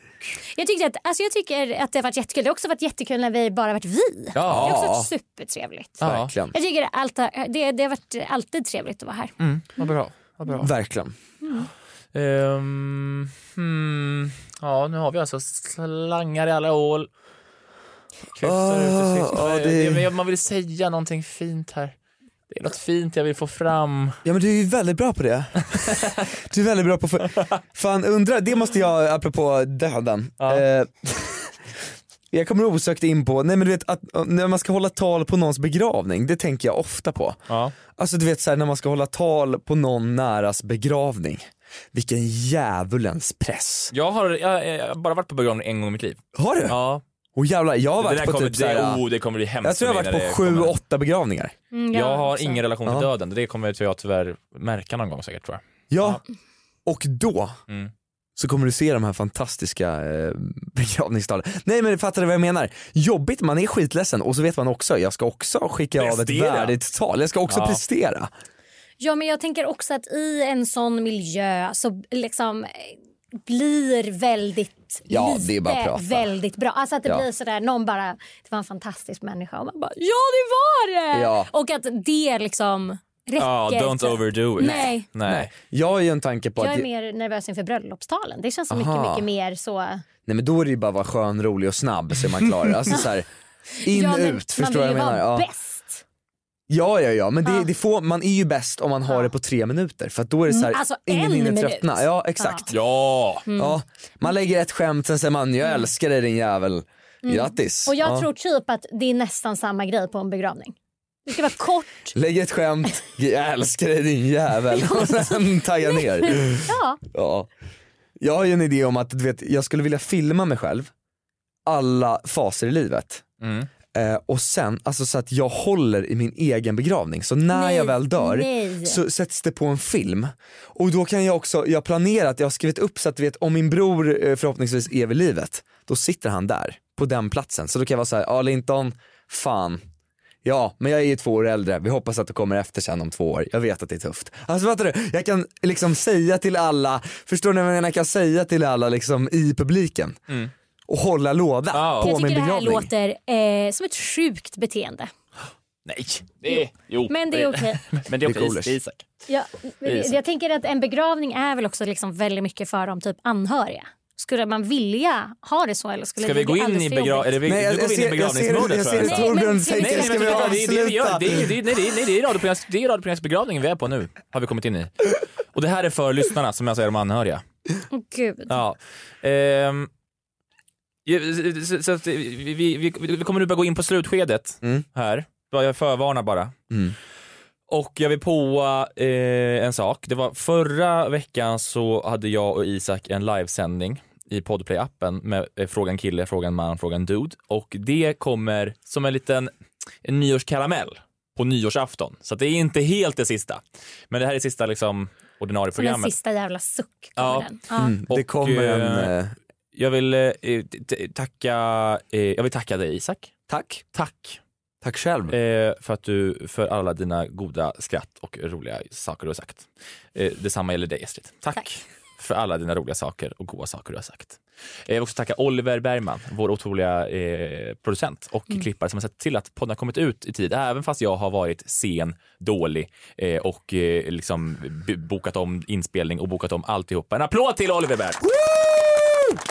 Jag, tyckte att, alltså jag tycker att det har varit jättekul. Det har också varit jättekul när vi bara varit vi.
Ja.
Det har också varit supertrevligt.
Verkligen.
Jag tycker att allt har, det, det har varit alltid trevligt att vara här.
Mm, vad bra. Vad bra.
Verkligen.
Ehm, hmm. Ja, nu har vi alltså slangar i alla hål. Kryssar
Ah,
ut och
ja,
det...
det-
det, men jag- man vill säga någonting fint här. Det är något fint jag vill få fram.
Ja men du är ju väldigt bra på det. Du är väldigt bra på för... Fan undra, det måste jag, apropå döden. Eh, jag kommer osökt in på, nej men du vet att eh, när man ska hålla tal på någons begravning, det tänker jag ofta på.
Ja.
Alltså du vet så här, när man ska hålla tal på någon näras begravning, vilken djävulens press.
Jag har, jag, jag har bara varit på begravning en gång i mitt liv.
Har du?
Ja.
Och jävlar, jag har
Det där
varit på
kommer,
typ så
det,
här,
oh, det kommer bli hemskt
jag tror jag har
för mig
varit på
när det
sju,
kommer.
åtta begravningar.
Mm,
Jag har ingen relation till
Ja.
döden. Det kommer jag tyvärr märka någon gång säkert tror jag.
Ja, och då
Mm.
så kommer du se de här fantastiska eh, begravningstalen. Nej men fattar du vad jag menar? Jobbigt, man är skitledsen och så vet man också, jag ska också skicka av ett
Prestera.
värdigt tal, jag ska också
Ja.
prestera.
Ja, men jag tänker också att i en sån miljö så liksom eh, blir väldigt
Ja,
lite
det är bara att prata.
väldigt bra. Alltså att det
Ja.
blir sådär, någon bara, det var en fantastisk människa och man bara, ja det var det!
Ja.
Och att det liksom räcker.
Ah,
Ja, don't overdo it.
Nej.
Nej.
Jag har ju en tanke på
Jag
att,
är mer nervös inför bröllopstalen. Det känns så mycket,
Aha.
mycket mer så.
nej men då är det ju bara att vara skön, rolig och snabb så är man klar. Alltså så här, in,
Ja, men
ut, förstår
man
du vad
vill
jag
ju
menar?
vara
Ja.
bäst.
Ja, ja, ja, men det, det får, man är ju bäst om man har det på tre minuter för att då är det så här,
Mm, alltså
ingen
en
hinner
minut.
tröttna. Ja, exakt.
Ja.
Mm.
ja! Man lägger ett skämt, sen säger man jag älskar dig din jävel.
Mm.
Grattis!
Och jag
ja.
tror typ att det är nästan samma grej på en begravning. Det ska vara kort.
Lägg ett skämt, jag älskar dig din jävel och sen tagga ner.
Ja.
Ja. Jag har ju en idé om att du vet, jag skulle vilja filma mig själv alla faser i livet. Eh, och sen, alltså så att jag håller i min egen begravning. Så när
Nej,
jag väl dör
nej.
så sätts det på en film. Och då kan jag också, jag har planerat, jag har skrivit upp så att du vet om min bror eh, förhoppningsvis är vid livet, då sitter han där, på den platsen. Så då kan jag vara såhär, ja Linton, fan, ja men jag är ju två år äldre, vi hoppas att du kommer efter sen om två år, jag vet att det är tufft. Alltså fattar du? Jag kan liksom säga till alla, förstår ni vad jag menar? Jag kan säga till alla liksom i publiken
Mm.
och hålla låda på
jag
min
tycker det här
begravning.
låter eh, som ett sjukt beteende.
Nej, det är, jo.
Men det är okej.
Men det är
Det är
okej.
coolers.
Det är Isak.
Ja,
Det är så.
jag tänker att en begravning är väl också liksom väldigt mycket för de typ anhöriga. Skulle man vilja ha det så? Eller skulle
Ska
det
vi gå
bli
in i
alldeles för
begravning?
jobbigt?
Eller vi,
Nej, jag-
nu går vi in i
jag ser- jag ser-
begravningsmordet
jag ser
tror
hur Torbjörn
Nej,
tänker.
men
Ska
vet
vi
du vad? Det är- det är- det är-
avsluta?
det är- det är- nej, det är- nej, det är radioprograms- Det är radioprogramsbegravningen vi är på nu, har vi kommit in i. Och det här är för lyssnarna, som jag säger, de anhöriga.
Åh, Gud.
Ja. Ehm, ju- så, så att vi, vi, vi vi kommer nu börja gå in på slutskedet här. Bara Jag förvarnar bara. Och jag vill på eh, en sak. Det var förra veckan så hade jag och Isak en livesändning i Podplay-appen med eh, frågan kille, frågan man, frågan dude. Och det kommer som en liten en nyårskaramell på nyårsafton. Så att det är inte helt det sista. Men det här är sista liksom ordinarie
Som en
programmet.
sista jävla suck.
Ja.
Ja. Mm,
det kommer en,
eh, jag vill eh, t- t- tacka, eh, jag vill tacka dig Isak.
Tack.
Tack.
Tack själv.
Eh, för att du, för alla dina goda skratt och roliga saker du har sagt. Eh, detsamma gäller dig Estrid. Tack, för alla dina roliga saker och goda saker du har sagt. Eh, jag vill också tacka Oliver Bergman, vår otroliga eh, producent och
Mm.
klippare som har sett till att podden har kommit ut i tid, även fast jag har varit sen, dålig eh, och eh, liksom b- bokat om inspelning och bokat om alltihopa. En applåd till Oliver Bergman!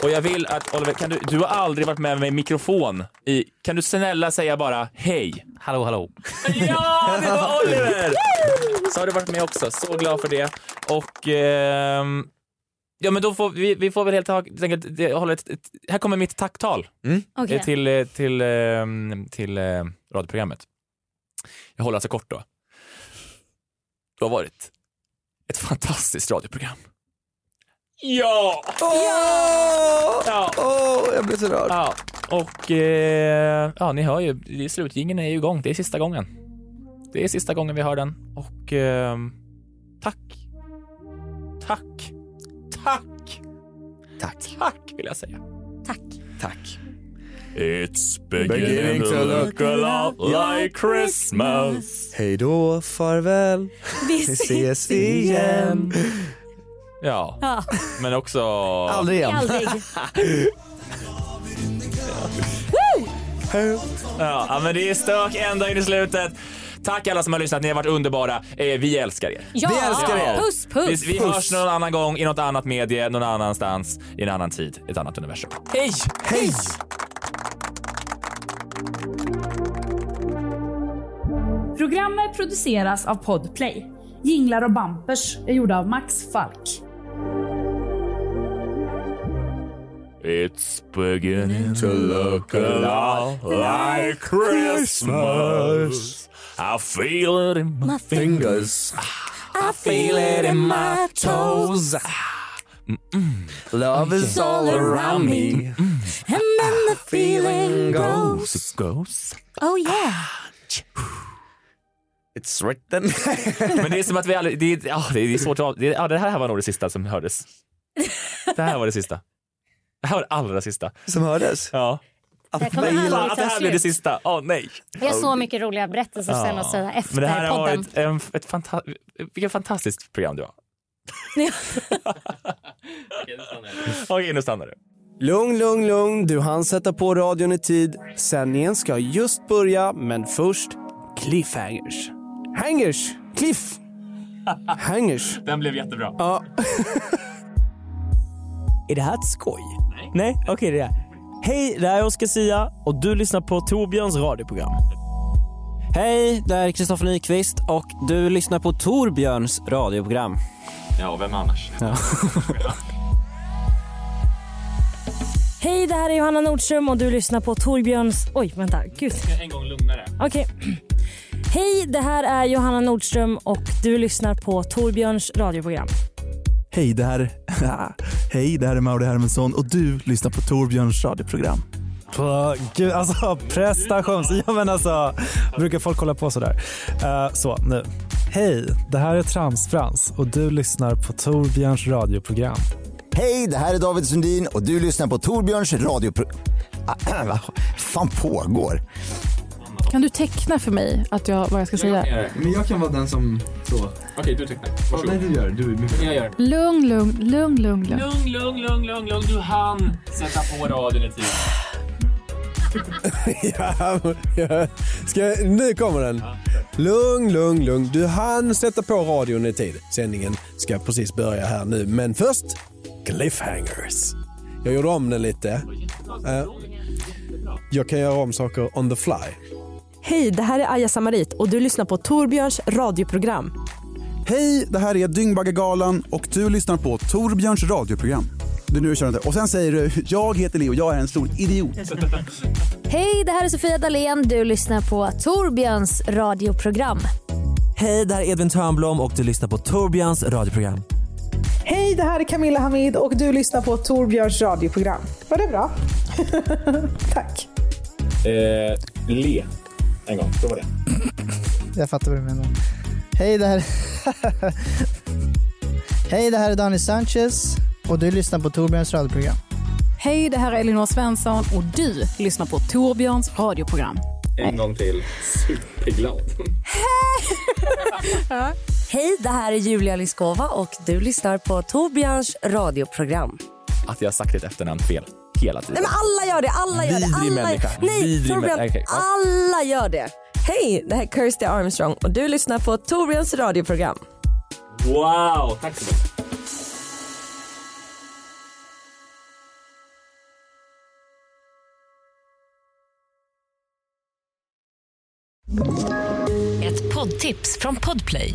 Och jag vill att Oliver, kan du, du har aldrig varit med mig i mikrofon. I, kan du snälla säga bara hej? Hallå, hallå. Ja, det var Oliver! Så har du varit med också. Så glad för det. Och ehm, ja, men då får vi, vi får väl helt enkelt eh, hålla ett, ett, här kommer mitt tacktal
Mm.
eh,
Okej.
till, eh, till, ehm, till eh, radioprogrammet. Jag håller alltså kort då. Det har varit ett fantastiskt radioprogram. Ja!
Ja!
ja!
Åh, jag blir så rörd.
Ja, och eh, ja, ni hör ju, det är slutgingen är ju igång. Det är sista gången. Det är sista gången vi hör den. Och eh, tack. Tack. Tack.
Tack.
Tack vill jag säga.
Tack.
It's beginning to look a lot like Christmas.
Hej då, farväl,
Vi ses igen.
Ja,
Ja.
men också...
Aldrig igen. Aldrig.
ja, ja, men det är stök ända in i slutet. Tack alla som har lyssnat, ni har varit underbara. Eh, vi älskar er.
Ja. Vi älskar er. Puss, puss.
Vi, vi
Puss.
hörs någon annan gång i något annat medie, någon annanstans, i en annan tid, ett annat universum. Hej!
Hej!
Programmet produceras av Podplay. Jinglar och bampers är gjorda av Max Falk.
It's beginning to look a lot like Christmas. I feel it in my fingers.
I feel it in my toes. Love is all around me.
And then the feeling goes.
Goes. Goes.
Oh yeah.
It's written.
Men det är som att vi aldrig... Det är, ja, det är svårt att... av- Det, är- ja, det här var nog det sista som hördes. Det här var det sista. Det här var det allra sista.
Som hördes?
Ja.
Det kommer aldrig
Fan, att det
ta
här blev det
slut.
sista. Åh nej.
Vi har
Oh.
så mycket roliga berättelser
Ja.
sen att säga efter
Men det här har
podden.
varit en, ett fanta vilket fantastiskt program det var. Okej, nu stannar du.
Lugn, lugn, lugn. Du hann sätta på radion i tid. Sändningen ska just börja, men först cliffhangers. Hangers! Cliff! Hangers.
Den blev jättebra.
Ja.
Är det här ett skoj? Nej. Nej, okej det är det. Hej, det här är Oscar Sia och du lyssnar på Torbjörns radioprogram. Hej, det här är Kristoffer Nyqvist och du lyssnar på Torbjörns radioprogram.
Ja, vem annars?
Hej, det här är Johanna Nordström och du lyssnar på Torbjörns... Oj, vänta. Gud.
En gång lugnare.
Okej. Hej, det här är Johanna Nordström och du lyssnar på Torbjörns radioprogram.
Hej, det här, hej, det här är Mauri Hermansson och du lyssnar på Torbjörns radioprogram.
På, gud, alltså prestations... Ja, men alltså, brukar folk hålla på sådär? Uh, så, nu. Hej, det här är Tramsfrans och du lyssnar på Torbjörns radioprogram.
Hej, det här är David Sundin och du lyssnar på Torbjörns radiopro... Ah, Vad fan pågår?
Kan du teckna för mig att jag, vad jag ska säga?
Men jag kan vara den som... Så. Okej,
du tecknar.
Varsågod. nej, du gör det. Du är mycket...
Jag gör.
Lugn, lugn, lugn, lugn, lugn.
Lugn, lugn, lugn, lugn, lugn. Du hann sätta på radion i tid.
ja, ja. Ska, jag- nu kommer den. Lugn, lugn, lugn. Du hann sätta på radion i tid. Sändningen ska precis börja här nu. Men först, cliffhangers. Jag gjorde om den lite. Eh, jag kan göra om saker on the fly.
Hej, det här är Aja Samarit och du lyssnar på Torbjörns radioprogram.
Hej, det här är Dyngbaggegalan och du lyssnar på Torbjörns radioprogram. Du, nu kör jag inte. Och sen säger du, jag heter Leo, jag är en stor idiot.
Hej, det här är Sofia Dalén. Du lyssnar på Torbjörns radioprogram.
Hej, det här är Edvin Törnblom och du lyssnar på Torbjörns radioprogram.
Hej, det här är Camilla Hamid och du lyssnar på Torbjörns radioprogram. Var det bra? Tack.
Eh, le. En gång. Prova det.
Jag fattar vad du menar. Hej, det här... Hej, det här är Danny Sanchez och du lyssnar på Torbjörns radioprogram.
Hej, det här är Elinor Svensson och du lyssnar på Torbjörns radioprogram.
En gång till. Superglad.
Hej, det här är Julia Lyskova och du lyssnar på Torbjörns radioprogram.
Att jag har sagt ditt efternamn fel hela tiden.
Nej men alla gör det, alla gör det.
Vidrig
Alla...
människa.
Nej,
Vidrig
Torbjörn,
män- okej, ja.
alla gör det. Hej, det här är Kirsty Armstrong och du lyssnar på Torbjörns radioprogram.
Wow, tack så mycket.
Ett poddtips från Podplay.